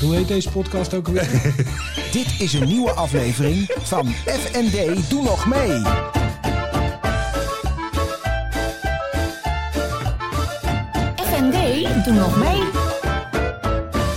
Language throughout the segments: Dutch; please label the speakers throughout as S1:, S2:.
S1: Hoe heet deze podcast ook alweer?
S2: Dit is een nieuwe aflevering van FND Doe Nog Mee.
S3: FND, doe nog mee.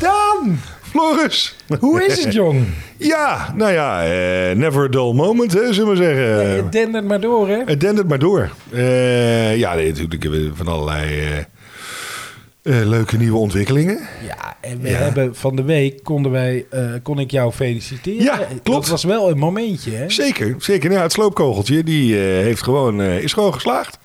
S4: Daan! Floris!
S1: Hoe is het, jong?
S4: Ja, nou ja, eh, never a dull moment, hè, zullen we zeggen.
S1: Het dendert maar door, hè?
S4: Het dendert maar door. Eh, ja, nee, natuurlijk hebben we van allerlei eh, eh, leuke nieuwe ontwikkelingen.
S1: Ja, en we
S4: Ja.
S1: hebben van de week konden wij, eh, kon ik jou feliciteren.
S4: Ja, klopt.
S1: Dat was wel een momentje, hè?
S4: Zeker, zeker. Nou, ja, het sloopkogeltje die, eh, heeft gewoon, eh, is gewoon geslaagd.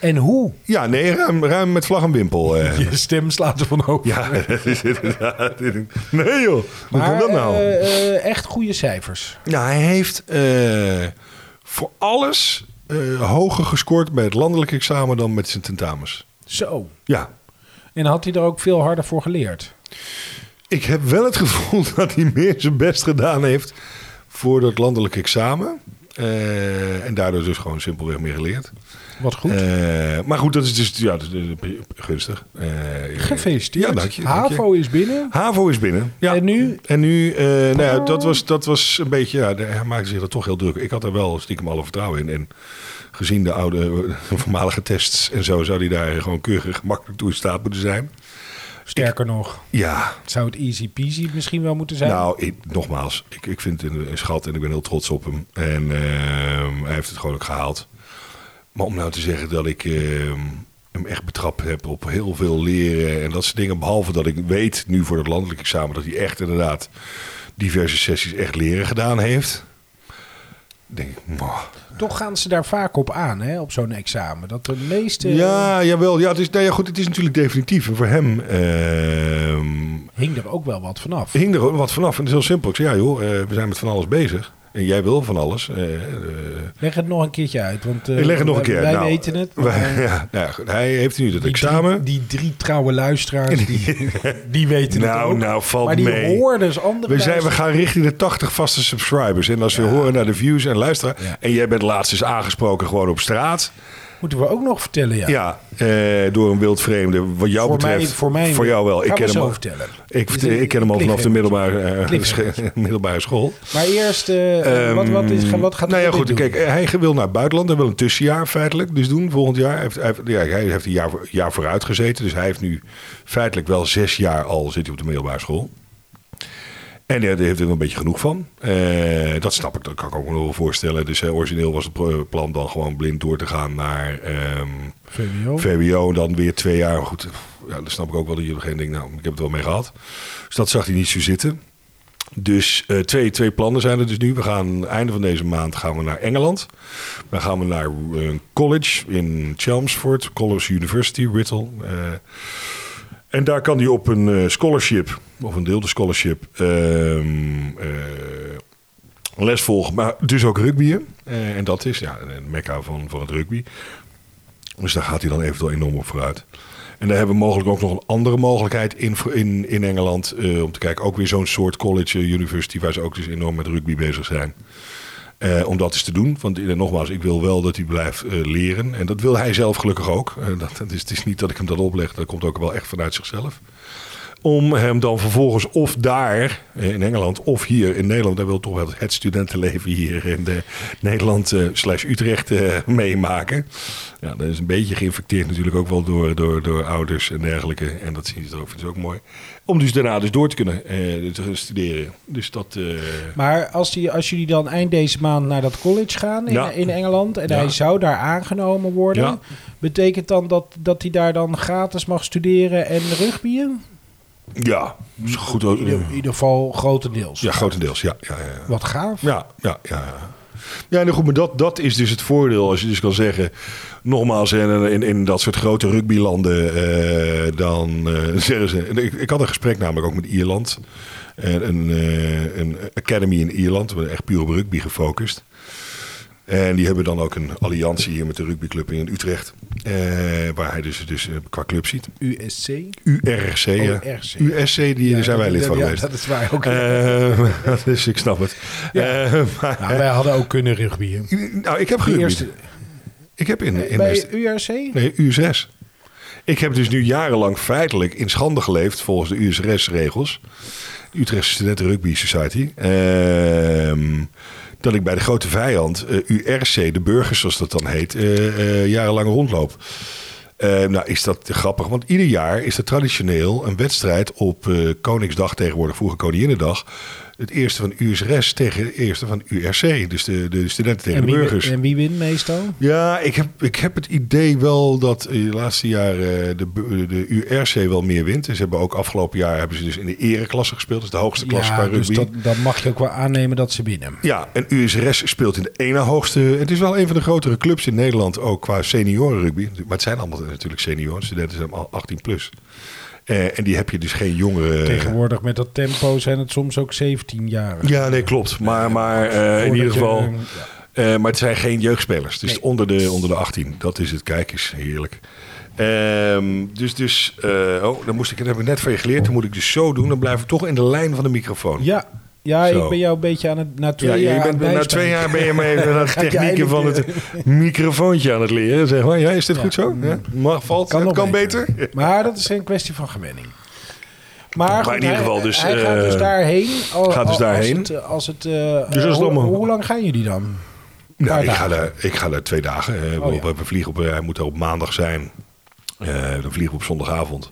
S1: En hoe?
S4: Ja, nee, ruim, ruim met vlag en wimpel. eh.
S1: Je stem slaat er van over.
S4: Ja, dat is inderdaad- nee joh, hoe
S1: maar
S4: komt dat nou?
S1: eh, eh, echt goede cijfers.
S4: Nou, hij heeft eh, voor alles eh, hoger gescoord bij het landelijk examen dan met zijn tentamens.
S1: Zo.
S4: Ja,
S1: En had hij er ook veel harder voor geleerd?
S4: ik heb wel het gevoel dat hij meer zijn best gedaan heeft voor dat landelijk examen. Eh, en daardoor dus gewoon simpelweg meer geleerd.
S1: Wat goed.
S4: Eh, maar goed, dat is dus ja, dat is gunstig. Eh,
S1: Gefeliciteerd.
S4: Ja, dank je. dank je.
S1: HAVO is binnen.
S4: HAVO is binnen. Ja.
S1: En nu?
S4: En nu, eh, nou ja, dat was, dat was een beetje, ja, de- hij maakte zich er toch heel druk. Ik had er wel stiekem alle vertrouwen in. En gezien de oude, eh, voormalige tests en zo, zou hij daar gewoon keurig en gemakkelijk toe in staat moeten zijn.
S1: Sterker nog,
S4: Ja,
S1: zou het easy peasy misschien wel moeten zijn?
S4: nou, ik- nogmaals, ik, ik vind het een, een schat en ik ben heel trots op hem. En ehm, hij heeft het gewoon ook gehaald. Maar om nou te zeggen dat ik ehm, hem echt betrapt heb op heel veel leren en dat soort dingen. Behalve dat ik weet nu voor het landelijk examen dat hij echt inderdaad diverse sessies echt leren gedaan heeft. Denk ik, mwah.
S1: Toch gaan ze daar vaak op aan, hè, op zo'n examen. Dat de meeste
S4: ja, jawel. Ja, het is, nou ja, goed, het is natuurlijk definitief. En voor hem ehm,
S1: hing er ook wel wat vanaf.
S4: hing er gewoon wat vanaf. En het is heel simpel. Ik zei, ja joh, eh, we zijn met van alles bezig. En jij wil van alles. eh, eh,
S1: Leg het nog een keertje uit, want eh,
S4: ik leg het nog een
S1: wij-
S4: keer.
S1: Wij
S4: Nou,
S1: weten het.
S4: wij-
S1: maar
S4: ja, nou ja, goed, hij heeft nu het
S1: die,
S4: examen.
S1: Drie, die drie trouwe luisteraars, die, die weten het
S4: Nou,
S1: ook.
S4: nou, valt
S1: maar die
S4: mee.
S1: hoorden dus andere
S4: we, zijn, we
S1: luisteraars.
S4: gaan richting de 80 vaste subscribers. En als we horen naar de views en luisteren.
S1: Ja.
S4: En jij bent laatst eens aangesproken gewoon op straat.
S1: Moeten we ook nog vertellen, ja.
S4: Ja, eh, door een wildvreemde. Wat jou
S1: Voor mij-
S4: betreft.
S1: voor mij-
S4: voor jou wel. Ik
S1: Gaan
S4: ken,
S1: we
S4: hem,
S1: zo
S4: al-
S1: vertellen.
S4: ik,
S1: Is
S4: vert-
S1: een
S4: ik ken hem al vanaf de middelbare, eh,
S1: Cliffhanger.
S4: sche- middelbare school.
S1: Maar eerst, eh,
S4: Ehm,
S1: wat, wat, is, wat gaat
S4: nou ja,
S1: Robin
S4: goed.
S1: doen?
S4: Kijk, hij wil naar het buitenland. Hij wil een tussenjaar feitelijk dus doen volgend jaar. Hij heeft, hij heeft, ja, hij heeft een jaar, voor- jaar vooruit gezeten. Dus hij heeft nu feitelijk wel zes jaar al zit hij op de middelbare school. En ja, daar heeft hij er een beetje genoeg van. Eh, dat snap ik, dat kan ik ook wel voorstellen. Dus eh, origineel was het pro- plan dan gewoon blind door te gaan naar ehm,
S1: VWO.
S4: VWO, dan weer twee jaar. Maar Goed, ja, dat snap ik ook wel dat jullie geen denkt, nou, ik heb het wel mee gehad. Dus dat zag hij niet zo zitten. Dus eh, twee, twee plannen zijn er dus nu. We gaan einde van deze maand gaan we naar Engeland. Dan gaan we naar eh, een college in Chelmsford, College University, Whittle. eh. en daar kan hij op een eh, scholarship, of een deelde scholarship, ehm, eh, les volgen. Maar dus ook rugbyen. Eh, en dat is ja, een mekka van, van het rugby. Dus daar gaat hij dan eventueel enorm op vooruit. En daar hebben we mogelijk ook nog een andere mogelijkheid in, in, in Engeland. eh, om te kijken, ook weer zo'n soort college, eh, university, waar ze ook dus enorm met rugby bezig zijn. Eh, om dat eens te doen. Want eh, nogmaals, ik wil wel dat hij blijft eh, leren. En dat wil hij zelf gelukkig ook. Eh, dat, dat is, het is niet dat ik hem dat opleg. Dat komt ook wel echt vanuit zichzelf. Om hem dan vervolgens of daar eh, in Engeland of hier in Nederland. Hij wil toch wel het studentenleven hier in eh, Nederland eh, slash Utrecht eh, meemaken. Ja, dat is een beetje geïnfecteerd natuurlijk ook wel door, door, door ouders en dergelijke. En dat zien ze er ook, vinden ze ook mooi. Om dus daarna dus door te kunnen eh, te studeren. Dus dat... eh,
S1: Maar als, die, als jullie dan eind deze maand naar dat college gaan in,
S4: Ja.
S1: in Engeland en
S4: Ja.
S1: hij zou daar aangenomen worden,
S4: Ja.
S1: betekent dan dat, dat hij daar dan gratis mag studeren en rugbyen?
S4: Ja, is goed. eh,
S1: In, ieder- in ieder geval grotendeels.
S4: Ja, grotendeels. Ja, ja, ja. ja.
S1: Wat gaaf.
S4: Ja, ja, ja. ja. Ja, nou goed, maar dat, dat is dus het voordeel. Als je dus kan zeggen, nogmaals, in, in, in dat soort grote rugbylanden, eh, dan eh, zeggen ze... en Ik, ik had een gesprek namelijk ook met Ierland. En een, eh, een academy in Ierland, we echt puur op rugby gefocust. En die hebben dan ook een alliantie hier met de rugbyclub in Utrecht. eh, waar hij dus, dus eh, qua club ziet.
S1: USC.
S4: URC. ja.
S1: URC.
S4: USC, die, daar zijn wij lid van
S1: ja,
S4: geweest.
S1: dat is waar ook.
S4: Ehm, dus ik snap het. Ehm, maar-
S1: Nou, wij hadden ook kunnen rugbyen.
S4: nou, ik heb
S1: Eerst-
S4: gehuurd. Ik heb in, in
S1: Bij
S4: West-
S1: URC?
S4: nee, USS. Ik heb dus nu jarenlang feitelijk in schande geleefd volgens de USRS-regels. Utrechtse Studenten Rugby Society. Ehm, dat ik bij de grote vijand, eh, URC, de burgers zoals dat dan heet, eh, eh, jarenlang rondloop. Eh, nou, is dat grappig, want ieder jaar is er traditioneel een wedstrijd op eh, Koningsdag tegenwoordig, vroeger Koninginnedag. Het eerste van USRS tegen het eerste van URC, dus de, de studenten tegen
S1: En
S4: de
S1: wie,
S4: burgers.
S1: en wie wint meestal?
S4: Ja, ik heb, ik heb het idee wel dat eh, de laatste jaren eh, de, bu- de URC wel meer wint. En ze hebben ook afgelopen jaar hebben ze dus in de ereklasse gespeeld. Dat is de hoogste klasse qua
S1: Ja,
S4: rugby.
S1: dus dat, dat mag je ook wel aannemen dat ze winnen.
S4: Ja, en USRS speelt in de ene hoogste. Het is wel een van de grotere clubs in Nederland, ook qua seniorenrugby. Maar het zijn allemaal natuurlijk senioren. Studenten zijn allemaal 18 plus. Eh, en die heb je dus geen jongeren.
S1: Tegenwoordig met dat tempo zijn het soms ook 17-jarigen.
S4: Ja, nee, klopt. Maar, maar eh, in
S1: Voordat
S4: ieder
S1: je,
S4: geval.
S1: eh,
S4: eh, maar het zijn geen jeugdspelers. Dus
S1: Nee.
S4: onder, de, onder de 18. Dat is het. Kijk eens, heerlijk. Ehm, dus, dus eh, oh, dan moest ik, dat heb ik net van je geleerd. Dan moet ik dus zo doen. Dan blijf ik toch in de lijn van de microfoon.
S1: Ja, ja
S4: Zo.
S1: ik ben jou een beetje aan het... Na twee
S4: Ja,
S1: jaar
S4: je
S1: aan het
S4: bent, na
S1: bijstaan.
S4: twee jaar ben je maar even aan de
S1: Heb je
S4: technieken van het microfoontje aan het leren. Zeg maar, ja, is dit
S1: Ja.
S4: goed zo? Ja? Mag, valt,
S1: Kan
S4: kan,
S1: nog
S4: kan
S1: beter.
S4: beter.
S1: Maar dat is een kwestie van gewenning. Maar, goed,
S4: in ieder
S1: hij-
S4: geval dus,
S1: Hij gaat dus
S4: eh,
S1: daarheen. Al-
S4: gaat dus
S1: als
S4: daarheen.
S1: het, eh, Als het, eh,
S4: Dus als het
S1: hoe,
S4: allemaal-
S1: hoe lang gaan jullie dan?
S4: Nou,
S1: Paar
S4: ik, ga
S1: dagen.
S4: daar, ik ga daar twee dagen. eh,
S1: Oh,
S4: we-
S1: ja.
S4: We vliegen op, eh, hij moet er op maandag zijn. Eh, dan vliegen we op zondagavond.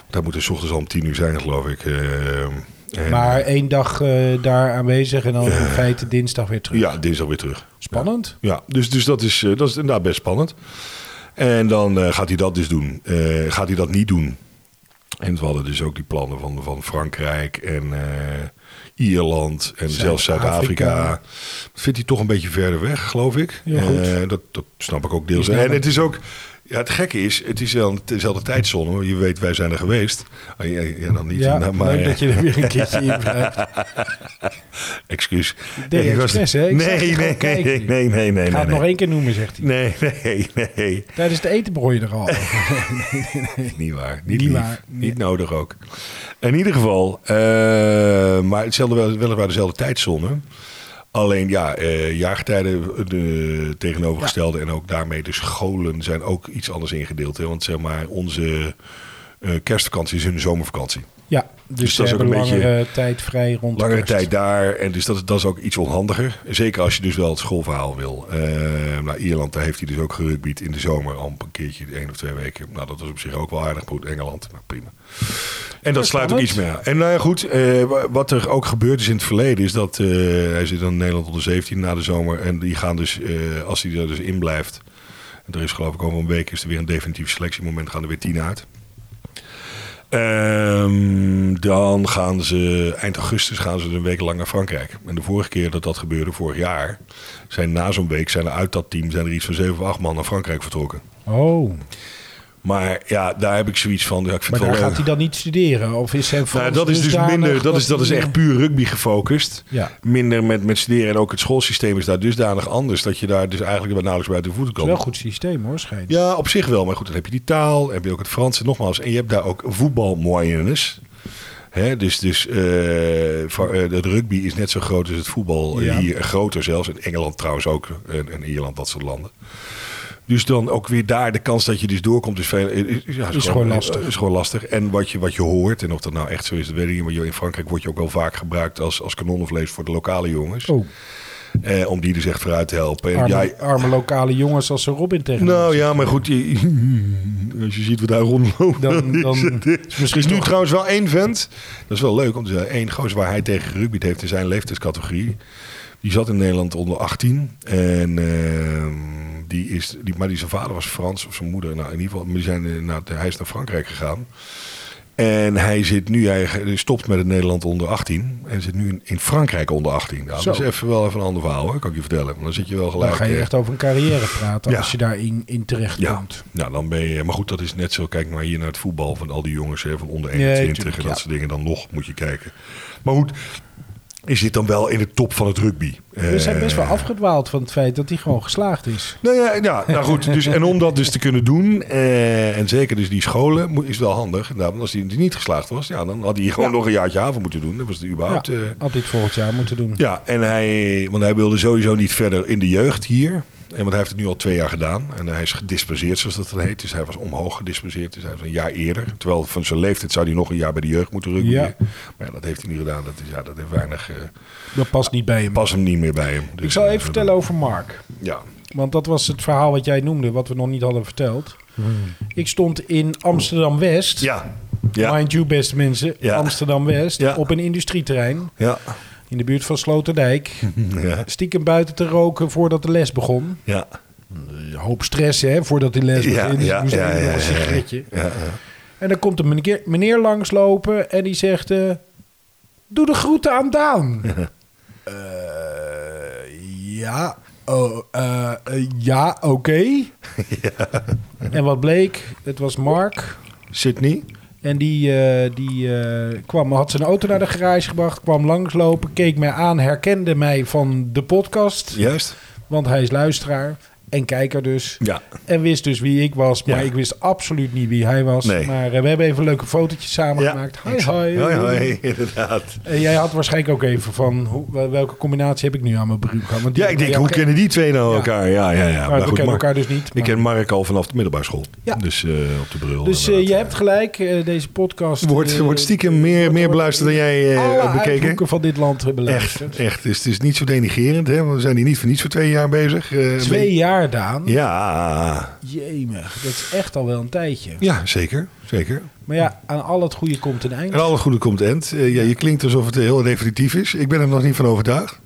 S4: Want hij moet er 's ochtends al om tien uur zijn, geloof ik. Eh, en-
S1: maar één dag eh, daar aanwezig en dan in feite dinsdag weer terug.
S4: Ja, dinsdag weer terug.
S1: Spannend.
S4: Ja, dus, dus dat, is, eh, dat is inderdaad best spannend. En dan eh, gaat hij dat dus doen. Eh, gaat hij dat niet doen? En we hadden dus ook die plannen van, van Frankrijk en eh, Ierland en zelfs Zuid-Afrika.
S1: Zuid-Afrika.
S4: Dat vindt hij toch een beetje verder weg, geloof ik.
S1: Ja, goed.
S4: Eh, dat, dat snap ik ook deels.
S1: Die
S4: En
S1: snappen.
S4: het is ook... Ja, het gekke is, het is wel een- dezelfde tijdzone. hoor. Je weet, wij zijn er geweest. Ah, ja, ja, dan niet.
S1: Ja,
S4: Nou, maar,
S1: leuk dat je er weer een keertje in blijft.
S4: eh, Excuus.
S1: Deed
S4: Ik was-
S1: expres, hè? Ik zag je
S4: nee,
S1: gewoon
S4: nee, nee, nee,
S1: kijken.
S4: nee, nee, nee.
S1: Ik ga het nog
S4: nee.
S1: één keer noemen, zegt hij.
S4: Nee, nee, nee.
S1: Tijdens het eten begon je er al.
S4: Niet waar.
S1: Niet
S4: Niet, lief.
S1: waar.
S4: Niet nodig ook. In ieder geval, eh, maar hetzelfde, wel- weliswaar dezelfde tijdzone. Alleen ja, eh, jaargetijden eh, de tegenovergestelde en ook daarmee de scholen zijn ook iets anders ingedeeld. Hè? Want zeg maar, onze eh, kerstvakantie is hun zomervakantie.
S1: Ja, dus,
S4: Dus
S1: ze
S4: dat is ook
S1: hebben
S4: een beetje-
S1: langere tijd vrij rond de
S4: Langere
S1: kerst.
S4: tijd daar. En dus dat, dat is ook iets onhandiger. Zeker als je dus wel het schoolverhaal wil. Eh, nou, Ierland, daar heeft hij dus ook gerugbied in de zomer. Al een keertje, één of twee weken. Nou, dat was op zich ook wel aardig. Maar goed, Engeland, nou, prima. En dat sluit ook
S1: spannend.
S4: iets meer aan. En nou ja, goed. eh, wa- wat er ook gebeurd is in het verleden is dat... eh, hij zit dan in Nederland onder 17 na de zomer. En die gaan dus, eh, als hij er dus in blijft... en Er is geloof ik over een week is er weer een definitief selectiemoment. Gaan er weer tien uit. Ehm, dan gaan ze eind augustus gaan ze een week lang naar Frankrijk. En de vorige keer dat dat gebeurde, vorig jaar, zijn na zo'n week zijn er uit dat team zijn er iets van zeven of acht man naar Frankrijk vertrokken.
S1: Oh,
S4: Maar ja, daar heb ik zoiets van. Ja, ik vind
S1: maar daar
S4: het wel
S1: gaat
S4: leuk.
S1: hij dan niet studeren? Of is zijn
S4: eh, Nou,
S1: Frans
S4: dat is dus
S1: dusdanig
S4: minder. Dat is, dat is
S1: hij-
S4: echt puur rugby gefocust.
S1: Ja.
S4: Minder met, met studeren. En ook het schoolsysteem is daar dusdanig anders. Dat je daar dus eigenlijk wel nauwelijks bij de voeten
S1: Dat
S4: komt.
S1: is wel een goed systeem hoor, schijnt.
S4: Ja, op zich wel. Maar goed, dan heb je die taal, heb je ook het Frans. En nogmaals, en je hebt daar ook voetbalmoyennes. Hè, dus dus eh, va- eh, het rugby is net zo groot als het voetbal. eh,
S1: Ja.
S4: Hier groter zelfs. In Engeland trouwens ook. En, en Ierland, dat soort landen. Dus dan ook weer daar de kans dat je dus doorkomt is, veel, is, is- ja, is, eh,
S1: gewoon lastig.
S4: Is gewoon lastig. En wat je, wat je hoort, en of dat nou echt zo is, dat weet ik niet. Maar joh, in Frankrijk word je ook wel vaak gebruikt als, als kanonnenvlees voor de lokale jongens.
S1: Oh,
S4: Eh, om die dus echt vooruit te helpen. En
S1: arme,
S4: ja,
S1: arme lokale jongens als ze Robin tegen
S4: nou ja, maar goed, je- als je ziet wat daar rondloopt.
S1: Dan- dan
S4: is het-
S1: is misschien
S4: is nu
S1: toch-
S4: trouwens wel één vent. Dat is wel leuk, om te zeggen, één goos waar hij tegen gerugbied heeft in zijn leeftijdscategorie. Die zat in Nederland onder 18. En ehm, die is, die, maar die, zijn vader was Frans of zijn moeder. Nou, in ieder geval, maar die zijn, eh, naar- hij is naar Frankrijk gegaan. En hij zit nu, hij stopt met het Nederland onder 18. En zit nu in, in Frankrijk onder 18. Nou, dat
S1: Zo.
S4: is even wel even een ander verhaal, hoor, kan ik je vertellen. Maar dan zit je wel gelijk.
S1: Dan ga je
S4: eh,
S1: echt over een carrière praten
S4: Ja.
S1: als je daarin in terecht
S4: ja,
S1: komt.
S4: nou dan ben je. Maar goed, dat is net zo. Kijk maar hier naar het voetbal van al die jongens hè, van onder
S1: Nee,
S4: 21
S1: tuurlijk,
S4: en dat
S1: ja.
S4: soort dingen. Dan nog moet je kijken. Maar goed, is dit dan wel in de top van het rugby?
S1: We zijn
S4: Eh,
S1: Dus best wel afgedwaald van het feit dat hij gewoon geslaagd is.
S4: nou ja, ja, nou goed. Dus, en om dat dus te kunnen doen, eh, en zeker dus die scholen, moet- is wel handig. Nou, want als die, die niet geslaagd was, ja, dan had hij gewoon nog een jaartje haven moeten doen. Dat was het
S1: Ja,
S4: überhaupt. eh,
S1: had dit volgend jaar moeten doen.
S4: ja, en hij, want hij wilde sowieso niet verder in de jeugd hier. En want hij heeft het nu al twee jaar gedaan. En hij is gedisperseerd, zoals dat dan heet. Dus hij was omhoog gedisperseerd. Dus hij was een jaar eerder. Terwijl van zijn leeftijd zou hij nog een jaar bij de jeugd moeten rugbyen.
S1: Ja.
S4: Maar ja, dat heeft hij niet gedaan. Dat, is, ja, dat heeft weinig... eh,
S1: Dat past niet bij hem.
S4: pas hem niet meer bij hem. Dus
S1: Ik zal
S4: dat
S1: even
S4: is-
S1: vertellen over Mark.
S4: Ja.
S1: Want dat was het verhaal wat jij noemde, wat we nog niet hadden verteld. Ik stond in Amsterdam-West.
S4: Hmm. Ja. Ja.
S1: Mind you, beste mensen.
S4: Ja.
S1: Amsterdam-West.
S4: Ja.
S1: Op een industrieterrein.
S4: Ja.
S1: In de buurt van Sloterdijk.
S4: Ja.
S1: Stiekem buiten te roken voordat de les begon.
S4: Ja.
S1: Een hoop stress, hè, voordat die les
S4: Ja,
S1: begint. Dus
S4: ja,
S1: ik moest
S4: ja,
S1: even
S4: ja,
S1: nog een
S4: ja, ja.
S1: sigaretje.
S4: Ja, ja.
S1: En dan komt een meneer, meneer langslopen en die zegt... eh, Doe de groeten aan Daan.
S4: Eh,
S1: ja, oh, eh, eh, ja, oké. En wat bleek? Het was Mark.
S4: Sydney?
S1: En die, eh, die eh, kwam, had zijn auto naar de garage gebracht, kwam langslopen, keek mij aan, herkende mij van de podcast.
S4: Juist.
S1: Want hij is luisteraar en kijker dus.
S4: Ja.
S1: En wist dus wie ik was, maar
S4: Ja.
S1: ik wist absoluut niet wie hij was.
S4: Nee.
S1: Maar eh, we hebben even leuke fotootjes samen gemaakt. Hi, hi.
S4: Hoi, hoi, inderdaad.
S1: En jij had waarschijnlijk ook even van hoe- wel- welke combinatie heb ik nu aan mijn broek? gehad? Want die-
S4: Ja, ik denk,
S1: die-
S4: hoe kennen die twee nou
S1: Ja.
S4: elkaar? Ja, ja, ja.
S1: Maar
S4: Maar
S1: we
S4: goed,
S1: kennen
S4: Mark-
S1: elkaar dus niet.
S4: Ik
S1: maar-
S4: ken Mark al vanaf de middelbare school.
S1: Ja.
S4: Dus eh, op de brul.
S1: dus eh,
S4: inderdaad.
S1: je hebt gelijk, eh, deze podcast
S4: Wordt,
S1: eh,
S4: wordt stiekem meer, meer beluisterd dan jij eh,
S1: alle
S4: bekeken.
S1: uithoeken van dit land hebben beluisterd.
S4: Echt, echt. Dus het is niet zo denigerend. Hè? Want we zijn hier niet voor niets voor twee jaar bezig. Eh, een
S1: Twee
S4: beetje-
S1: jaar, Daan.
S4: Ja.
S1: Jemig, dat is echt al wel een tijdje.
S4: ja, zeker. zeker.
S1: Maar ja, aan al het goede komt een eind.
S4: En alle goede komt end. Eh, ja, je klinkt alsof het heel definitief is. Ik ben er nog niet van overtuigd.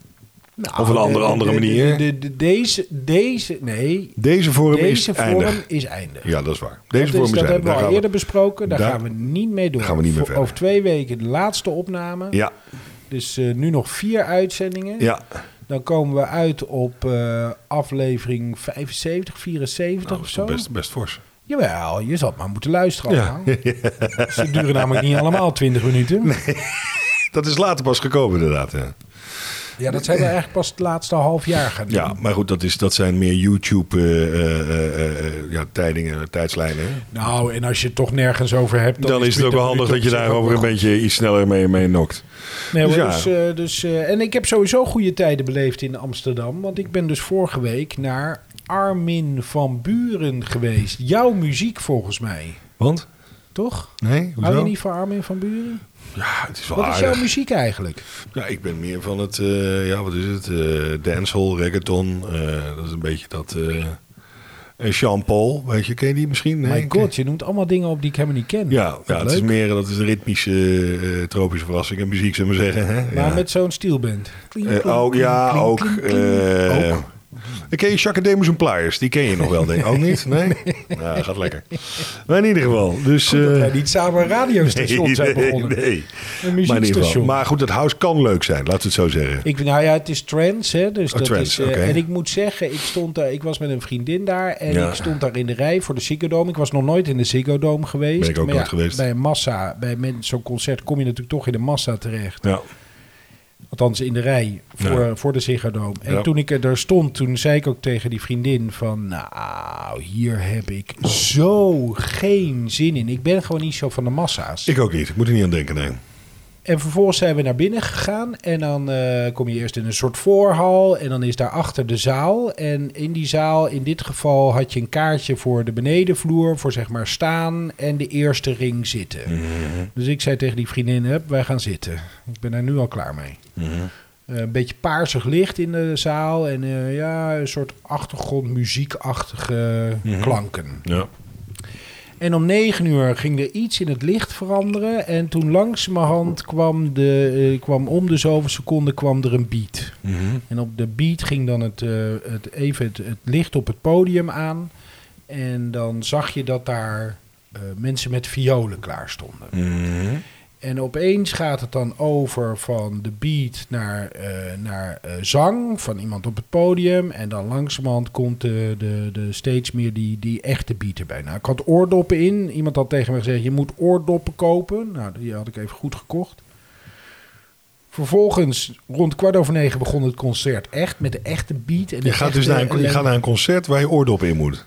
S1: Nou,
S4: Of een andere- andere manier.
S1: de- de- de- deze, deze, nee,
S4: Deze vorm is
S1: deze vorm
S4: eindig.
S1: is eindig.
S4: Ja, dat is waar. Deze
S1: dat
S4: vorm
S1: is,
S4: is
S1: dat
S4: eindig.
S1: hebben we
S4: Daar
S1: al
S4: gaan
S1: eerder besproken. Daar,
S4: daar
S1: gaan we niet mee door.
S4: gaan we niet meer
S1: Voor-
S4: verder.
S1: Over twee weken de laatste opname.
S4: Ja,
S1: Dus eh, nu nog vier uitzendingen.
S4: ja.
S1: Dan komen we uit op eh, aflevering 75, 74
S4: Nou, dat
S1: of
S4: is
S1: zo.
S4: toch best, best fors.
S1: Jawel, je zal maar moeten luisteren.
S4: Ja.
S1: allemaal. Ze duren namelijk niet allemaal 20 minuten.
S4: Dat is later pas gekomen inderdaad. hè.
S1: Ja, dat zijn we eigenlijk pas het laatste half jaar gaan doen.
S4: Ja, maar goed, dat, is, dat zijn meer eh, YouTube-tijdingen, eh, tijdslijnen. hè.
S1: Nou, en als je het toch nergens over hebt...
S4: Dan, is het ook
S1: 20
S4: wel handig dat je
S1: minuten op zich
S4: daarover een
S1: ook wel-
S4: beetje iets sneller mee, mee nokt.
S1: Nee,
S4: Dus
S1: hoor,
S4: ja.
S1: dus, eh, dus, eh, en ik heb sowieso goede tijden beleefd in Amsterdam. Want ik ben dus vorige week naar Armin van Buren geweest. Jouw muziek volgens mij,
S4: Want?
S1: toch?
S4: Nee,
S1: Hou je niet van Armin van Buren?
S4: Ja, het is wel
S1: Wat is jouw
S4: aardig.
S1: muziek eigenlijk?
S4: Ja, ik ben meer van het, eh, ja, wat is het? eh dancehall, reggaeton. eh, dat is een beetje dat... eh, en Jean Paul, weet je, ken je die misschien?
S1: My god, je noemt allemaal dingen op die ik helemaal niet ken.
S4: Ja, ja het is
S1: Leuk.
S4: meer dat is een ritmische, eh, tropische verrassing en muziek, zullen we zeggen. Hè?
S1: Maar
S4: Ja.
S1: met zo'n steelband. Kling,
S4: Eh,
S1: kling,
S4: ook,
S1: kling,
S4: ja,
S1: kling,
S4: ook.
S1: kling,
S4: eh,
S1: kling.
S4: Ik ken je Shacademus en Pliers, die ken je nog wel, denk ik. Ook niet? Nee? Nou, gaat lekker. Maar in ieder geval, dus...
S1: Goed dat
S4: eh,
S1: wij niet samen een radiostation zijn begonnen.
S4: nee.
S1: Een
S4: Maar, in ieder geval.
S1: muziekstation.
S4: maar goed, het house kan leuk zijn, laten we het zo zeggen.
S1: Ik, nou ja, het is trends, hè. Dus
S4: Oh,
S1: dat is,
S4: trends,
S1: eh,
S4: oké.
S1: En ik moet zeggen, ik, stond daar, ik was met een vriendin daar... en
S4: Ja.
S1: ik stond daar in de rij voor de Ziggo Dome. Ik was nog nooit in de Ziggo Dome geweest.
S4: Ben ik ook
S1: maar
S4: nooit geweest.
S1: Bij een massa, bij men- zo'n concert kom je natuurlijk toch in de massa terecht.
S4: Ja.
S1: Althans, in de rij voor,
S4: Ja.
S1: voor de Ziggo Dome. En
S4: Ja.
S1: toen ik er daar stond, toen zei ik ook tegen die vriendin van... nou, hier heb ik zo geen zin in. Ik ben gewoon niet zo van de massa's.
S4: Ik ook niet, ik moet er niet aan denken, nee.
S1: En vervolgens zijn we naar binnen gegaan. En dan eh, kom je eerst in een soort voorhal. En dan is daarachter de zaal. En in die zaal, in dit geval, had je een kaartje voor de benedenvloer. Voor zeg maar staan en de eerste ring zitten. Dus ik zei tegen die vriendin, hup, wij gaan zitten. Ik ben daar nu al klaar mee. Eh, een beetje paarsig licht in de zaal. En eh, ja, een soort achtergrondmuziekachtige klanken.
S4: Ja.
S1: En om negen uur ging er iets in het licht veranderen. En toen langzamerhand kwam, de, eh, kwam om de zoveel seconden kwam er een beat. En op de beat ging dan het, eh, het, even het, het licht op het podium aan. En dan zag je dat daar eh, mensen met violen klaar stonden. En opeens gaat het dan over van de beat naar, eh, naar eh, zang van iemand op het podium. En dan langzamerhand komt de, de, de steeds meer die, die echte beat erbij. Nou, ik had oordoppen in. Iemand had tegen me gezegd, je moet oordoppen kopen. Nou, die had ik even goed gekocht. Vervolgens, rond kwart over negen, begon het concert echt met de echte beat. En de
S4: Je gaat
S1: echte
S4: dus naar een, je
S1: ellende.
S4: gaat naar een concert waar je oordoppen in moet.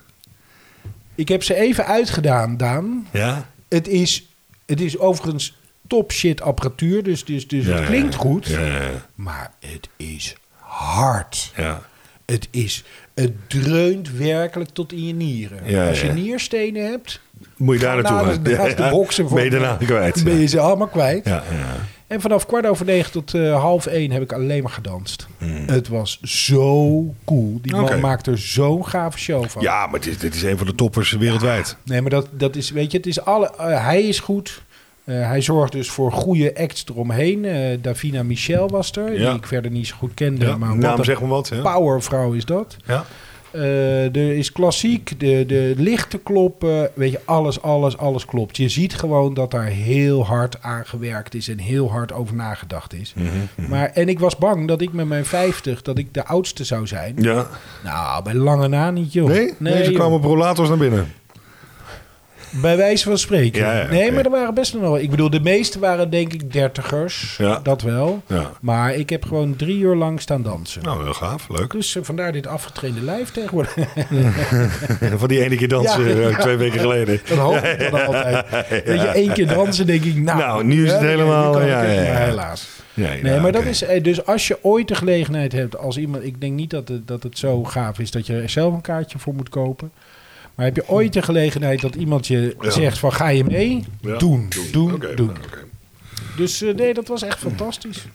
S1: Ik heb ze even uitgedaan, Daan.
S4: Ja?
S1: Het is, het is overigens top shit apparatuur, dus, dus, dus het klinkt goed.
S4: Ja, ja,
S1: Maar het is hard.
S4: ja.
S1: Het is Het dreunt werkelijk tot in je nieren.
S4: Ja,
S1: Als je
S4: ja.
S1: nierstenen hebt,
S4: Moet je daar
S1: Ga
S4: naartoe
S1: naar
S4: gaan?
S1: de- naast de boksen voor-
S4: Ben je daarna kwijt?
S1: ben je ze allemaal kwijt.
S4: Ja, ja.
S1: En vanaf kwart over negen tot eh, half één heb ik alleen maar gedanst. Het was zo cool. Die man
S4: Hmm. Oké.
S1: maakt er zo'n gave show van.
S4: ja maar dit, dit is een van de toppers wereldwijd.
S1: Nee, maar dat, dat is, weet je, het is alle, eh, hij is goed. Eh, hij zorgt dus voor goede acts eromheen. Eh, Davina Michel was er,
S4: Ja.
S1: die ik verder niet zo goed kende.
S4: Ja,
S1: maar
S4: naam
S1: wat een
S4: zeg maar wat. Hè?
S1: powervrouw is dat.
S4: Ja.
S1: Eh, er is klassiek, de, de lichten kloppen. Weet je, alles, alles, alles klopt. Je ziet gewoon dat daar heel hard aan gewerkt is en heel hard over nagedacht is.
S4: Mhm,
S1: Maar, en ik was bang dat ik met mijn 50, dat ik de oudste zou zijn.
S4: ja.
S1: Nou, bij lange na niet, joh.
S4: Nee? Nee, ze
S1: joh.
S4: kwamen op rollators naar binnen.
S1: Bij wijze van spreken.
S4: Ja, ja,
S1: nee,
S4: oké.
S1: maar er waren best nog wel. Ik bedoel, de meeste waren denk ik dertigers.
S4: Ja.
S1: Dat wel.
S4: Ja.
S1: Maar ik heb gewoon drie uur lang staan dansen.
S4: Nou, heel gaaf. Leuk.
S1: Dus eh, vandaar dit afgetrainde lijf tegenwoordig.
S4: Van die ene keer dansen
S1: Ja.
S4: eh, twee weken geleden.
S1: Dat hoop ik dan altijd. Weet je, één keer dansen denk ik, nou...
S4: Nou, nu is het
S1: hè,
S4: helemaal,
S1: nu kan ik
S4: ja,
S1: het,
S4: ja, ja.
S1: maar helaas.
S4: Nee,
S1: Nee,
S4: nou,
S1: maar dat
S4: oké.
S1: is... eh, Dus als je ooit de gelegenheid hebt als iemand... Ik denk niet dat het, dat het zo gaaf is dat je er zelf een kaartje voor moet kopen. Maar heb je ooit de gelegenheid dat iemand je
S4: Ja.
S1: zegt van ga je mee?
S4: Ja,
S1: Doen, doen,
S4: Oké,
S1: doen.
S4: nou, oké.
S1: Dus eh, nee, dat was echt fantastisch.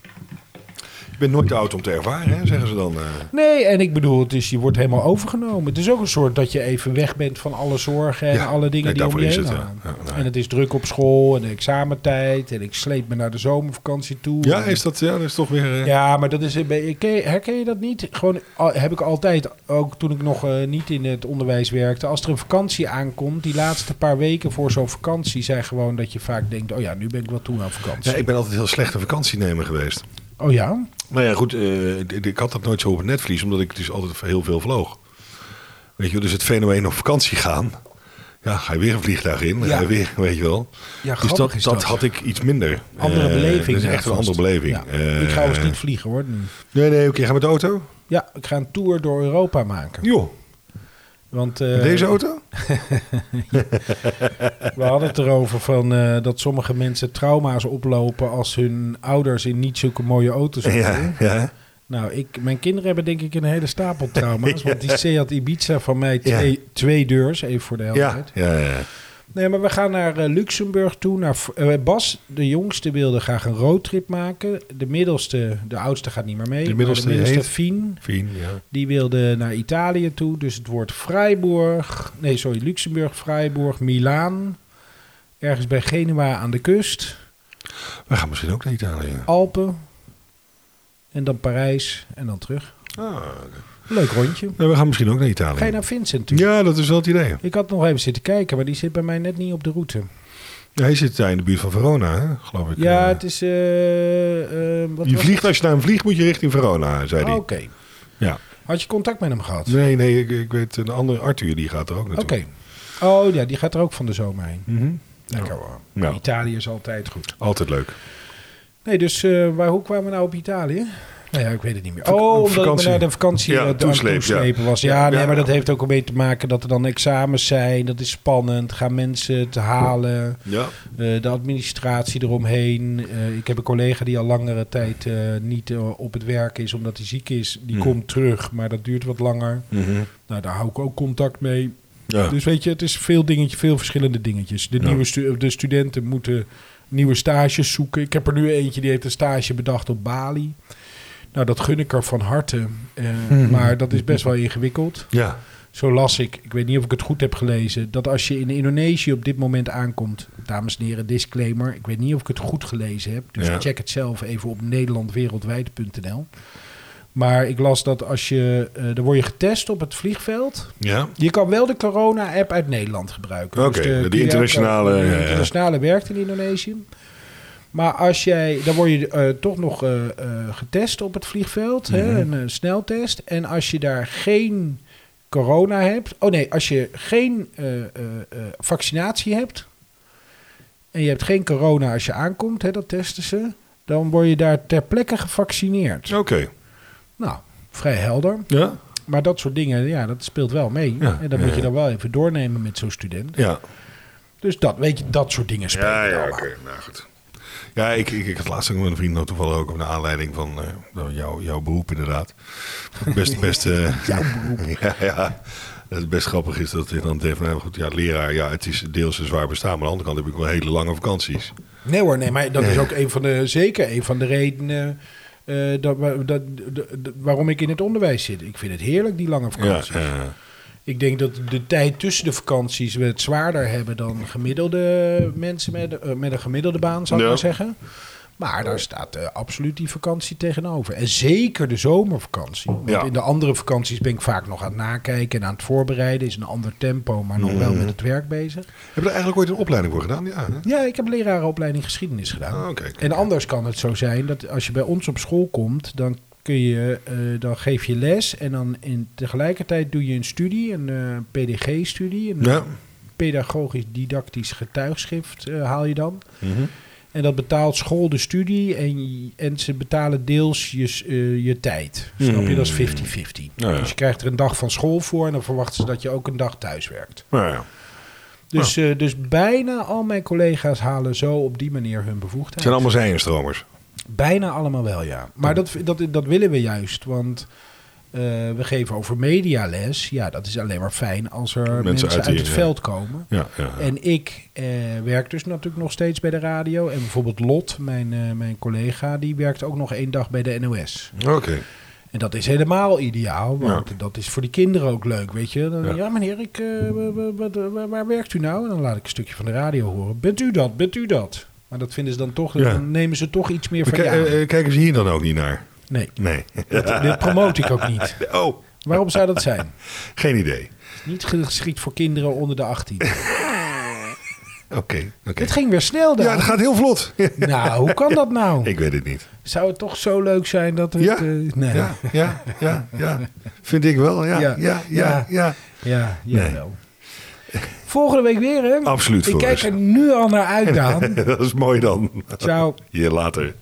S4: Je bent nooit te oud om te ervaren, hè, zeggen ze dan. eh.
S1: Nee, en ik bedoel, het is, je wordt helemaal overgenomen. Het is ook een soort dat je even weg bent van alle zorgen en
S4: Ja,
S1: alle dingen
S4: kijk,
S1: die om
S4: daarvoor
S1: je
S4: is
S1: heen
S4: het, ja.
S1: hangen.
S4: Ja, nou ja.
S1: En het is druk op school en de examentijd. En ik sleep me naar de zomervakantie toe.
S4: Ja,
S1: En-
S4: is dat, ja, dat is toch weer... eh,
S1: Ja, maar dat is, een beetje- ken je- herken je dat niet? Gewoon al- heb ik altijd, ook toen ik nog eh, niet in het onderwijs werkte, als er een vakantie aankomt, die laatste paar weken voor zo'n vakantie zijn gewoon dat je vaak denkt, oh ja, nu ben ik wel toe aan vakantie.
S4: Ja, ik ben altijd heel slecht een vakantienemer geweest.
S1: Oh ja?
S4: Nou ja, goed, eh, d- d- ik had dat nooit zo op het netvlies, omdat ik dus altijd heel veel vloog. Weet je, wel, dus het fenomeen op vakantie gaan. Ja, ga je weer een vliegtuig in,
S1: Ja.
S4: ga je weer, weet je wel.
S1: Ja,
S4: dus
S1: grappig
S4: dat,
S1: is
S4: dat
S1: dat.
S4: had ik iets minder.
S1: Andere
S4: Eh,
S1: beleving.
S4: Dat is echt
S1: daarvan.
S4: een andere beleving. Eh,
S1: Ja. ik ga
S4: eens
S1: eens niet vliegen hoor. nu.
S4: Nee, nee, oké, ga met de auto?
S1: Ja, ik ga een tour door Europa maken.
S4: Joh,
S1: Want eh,
S4: met deze auto?
S1: we hadden het erover van, eh, dat sommige mensen trauma's oplopen als hun ouders in niet zulke mooie auto's zitten.
S4: Ja, ja.
S1: Nou, ik, mijn kinderen hebben denk ik een hele stapel trauma's. Want die Seat Ibiza van mij twee,
S4: Ja.
S1: twee deurs, even voor de
S4: Ja,
S1: helderheid.
S4: ja, ja.
S1: Nee, maar we gaan naar eh, Luxemburg toe. Naar, F- eh, Bas, de jongste, wilde graag een roadtrip maken. De middelste, de oudste gaat niet meer mee.
S4: De middelste
S1: maar de middelste
S4: heet?
S1: Fien,
S4: Fien, ja.
S1: die wilde naar Italië toe. Dus het wordt Freiburg, nee sorry, Luxemburg, Freiburg, Milaan. Ergens bij Genua aan de kust.
S4: We gaan misschien ook naar Italië.
S1: Alpen. En dan Parijs en dan terug.
S4: Ah, oké.
S1: Leuk rondje.
S4: Nee, we gaan misschien ook naar Italië.
S1: Oh. Ga je naar Vincent toe?
S4: Ja, dat is wel het idee.
S1: Ik had nog even zitten kijken, maar die zit bij mij net niet op de route.
S4: Hij zit daar in de buurt van Verona, hè, geloof ik.
S1: Ja,
S4: Eh,
S1: het is... eh, eh, wat
S4: je
S1: was
S4: vliegt, als je naar hem vliegt, moet je richting Verona, zei
S1: het?
S4: hij.
S1: Oh, Oké.
S4: Ja.
S1: Had je contact met hem gehad?
S4: Nee, nee, ik, ik weet een andere Arthur, die gaat er ook
S1: Oké.
S4: naartoe.
S1: Oh ja, die gaat er ook van de zomer heen.
S4: Mhm.
S1: Lekker hoor.
S4: Ja.
S1: Italië is altijd goed.
S4: Altijd leuk.
S1: Nee, dus eh, waar, hoe kwamen we nou op Italië? Nou ja, ik weet het niet meer.
S4: Vak-
S1: oh, omdat ik me
S4: vakantie.
S1: naar de vakantie
S4: Ja,
S1: eh, aan het
S4: toesleep, ja.
S1: toeslepen was. Ja,
S4: Ja,
S1: nee,
S4: ja.
S1: maar dat heeft ook een beetje te maken dat er dan examens zijn. Dat is spannend. Gaan mensen het halen?
S4: Ja.
S1: Eh, de administratie eromheen. Eh, ik heb een collega die al langere tijd eh, niet eh, op het werk is omdat hij ziek is. Die
S4: Mhm.
S1: komt terug, maar dat duurt wat langer.
S4: Hmm.
S1: Nou, daar hou ik ook contact mee.
S4: ja.
S1: Dus weet je, het is veel dingetje, veel verschillende dingetjes. De,
S4: Ja.
S1: nieuwe stu- de studenten moeten nieuwe stages zoeken. Ik heb er nu eentje die heeft een stage bedacht op Bali. Nou, dat gun ik er van harte. Eh,
S4: Mhm.
S1: Maar dat is best wel ingewikkeld.
S4: ja.
S1: Zo las ik, ik weet niet of ik het goed heb gelezen, dat als je in Indonesië op dit moment aankomt, dames en heren, disclaimer, ik weet niet of ik het goed gelezen heb, dus
S4: Ja.
S1: check het zelf even op nederlandwereldwijd.nl. Maar ik las dat als je, eh dan word je getest op het vliegveld.
S4: Ja.
S1: Je kan wel de corona-app uit Nederland gebruiken. Dus
S4: Oké,
S1: de
S4: die internationale,
S1: QR-code,
S4: ja,
S1: De
S4: ja.
S1: internationale werkt in Indonesië. Maar als jij, dan word je eh, toch nog eh, eh, getest op het vliegveld, hè,
S4: Mhm.
S1: een eh, sneltest. En als je daar geen corona hebt, oh nee, als je geen eh, eh, eh, vaccinatie hebt en je hebt geen corona als je aankomt, hè, dat testen ze, dan word je daar ter plekke gevaccineerd.
S4: Oké.
S1: Nou, vrij helder.
S4: Ja.
S1: Maar dat soort dingen, ja, dat speelt wel mee.
S4: Ja,
S1: en dat
S4: ja,
S1: moet je
S4: ja.
S1: dan wel even doornemen met zo'n student.
S4: Ja.
S1: Dus dat, weet je, dat soort dingen spelen.
S4: Ja, ja,
S1: allemaal.
S4: oké. Nou goed. Ja, Ja, ik, ik, ik had laatst ook met een vriend nou, toevallig ook op de aanleiding van eh, nou, jou, jouw beroep inderdaad. Best, best, eh, ja, ja. Het best grappig is dat dit dan tegen nou, goed, ja, leraar, ja, het is deels een zwaar bestaan, maar aan de andere kant heb ik wel hele lange vakanties.
S1: Nee hoor, nee, maar dat is ook een van de, zeker een van de redenen eh, dat, wa- dat, dat- dat- waarom ik in het onderwijs zit. Ik vind het heerlijk, die lange
S4: Ja,
S1: vakanties.
S4: eh,
S1: Ik denk dat de tijd tussen de vakanties we het zwaarder hebben dan gemiddelde mensen met, eh, met een gemiddelde baan, zou ik
S4: Ja.
S1: maar zeggen. Maar daar staat eh, absoluut die vakantie tegenover. En zeker de zomervakantie. Want
S4: Ja.
S1: in de andere vakanties ben ik vaak nog aan het nakijken en aan het voorbereiden. Is een ander tempo, maar
S4: Mm.
S1: nog wel met het werk bezig.
S4: heb je er eigenlijk ooit een opleiding voor gedaan? Ja, hè?
S1: Ja, ik heb lerarenopleiding geschiedenis gedaan.
S4: Ah, oké.
S1: En anders kan het zo zijn dat als je bij ons op school komt, dan kun je, eh, dan geef je les en dan in, tegelijkertijd doe je een studie, een eh, PDG-studie, een
S4: Ja.
S1: pedagogisch-didactisch getuigschrift eh, haal je dan.
S4: Mhm.
S1: En dat betaalt school de studie en, je- en ze betalen deels je, s- eh, je tijd. Snap je? Dat is 50-50.
S4: Hmm. Nou Ja, ja.
S1: Dus je krijgt er een dag van school voor en dan verwachten ze dat je ook een dag thuis werkt.
S4: Nou ja.
S1: Dus, eh, dus bijna al mijn collega's halen zo op die manier hun
S4: Het
S1: bevoegdheid.
S4: zijn allemaal zijnstromers.
S1: Bijna allemaal wel, ja. Maar dat, dat, dat willen we juist, want eh, we geven over mediales. Ja, dat is alleen maar fijn als er mensen,
S4: uit
S1: uit,
S4: die-
S1: het
S4: ja.
S1: veld komen.
S4: Ja, ja.
S1: En ik eh, werk dus natuurlijk nog steeds bij de radio. En bijvoorbeeld Lot, mijn, eh, mijn collega, die werkt ook nog één dag bij de NOS.
S4: Oké.
S1: En dat is helemaal ideaal, want dat is voor die kinderen ook leuk, weet je. Dan,
S4: Ja.
S1: ja. meneer, ik, eh, wa- wa- wa- wa- waar, werkt u nou? En dan laat ik een stukje van de radio horen. Bent u dat? Bent u dat? Maar dat vinden ze dan toch,
S4: Ja.
S1: dan nemen ze toch iets meer
S4: Maar
S1: van
S4: ki-
S1: ja.
S4: eh, eh, kijken ze hier dan ook niet naar?
S1: Nee,
S4: Nee.
S1: dit, dit promote ik ook niet.
S4: Oh,
S1: Waarom zou dat zijn?
S4: geen idee.
S1: Niet geschikt voor kinderen onder de 18.
S4: Oké. oké.
S1: Het ging weer snel
S4: Ja, het
S1: daar.
S4: gaat heel vlot.
S1: Nou, hoe kan dat nou?
S4: Ik weet het niet.
S1: Zou het toch zo leuk zijn dat we
S4: Ja.
S1: het... eh, nee.
S4: Ja, ja, ja, ja. Vind ik wel, ja. Ja,
S1: Ja.
S4: ja, ja.
S1: Ja. Ja, jawel. Volgende week weer, hè?
S4: Absoluut,
S1: Ik kijk
S4: Floris.
S1: er nu al naar uit, Daan.
S4: Dat is mooi dan.
S1: Ciao.
S4: Hier later.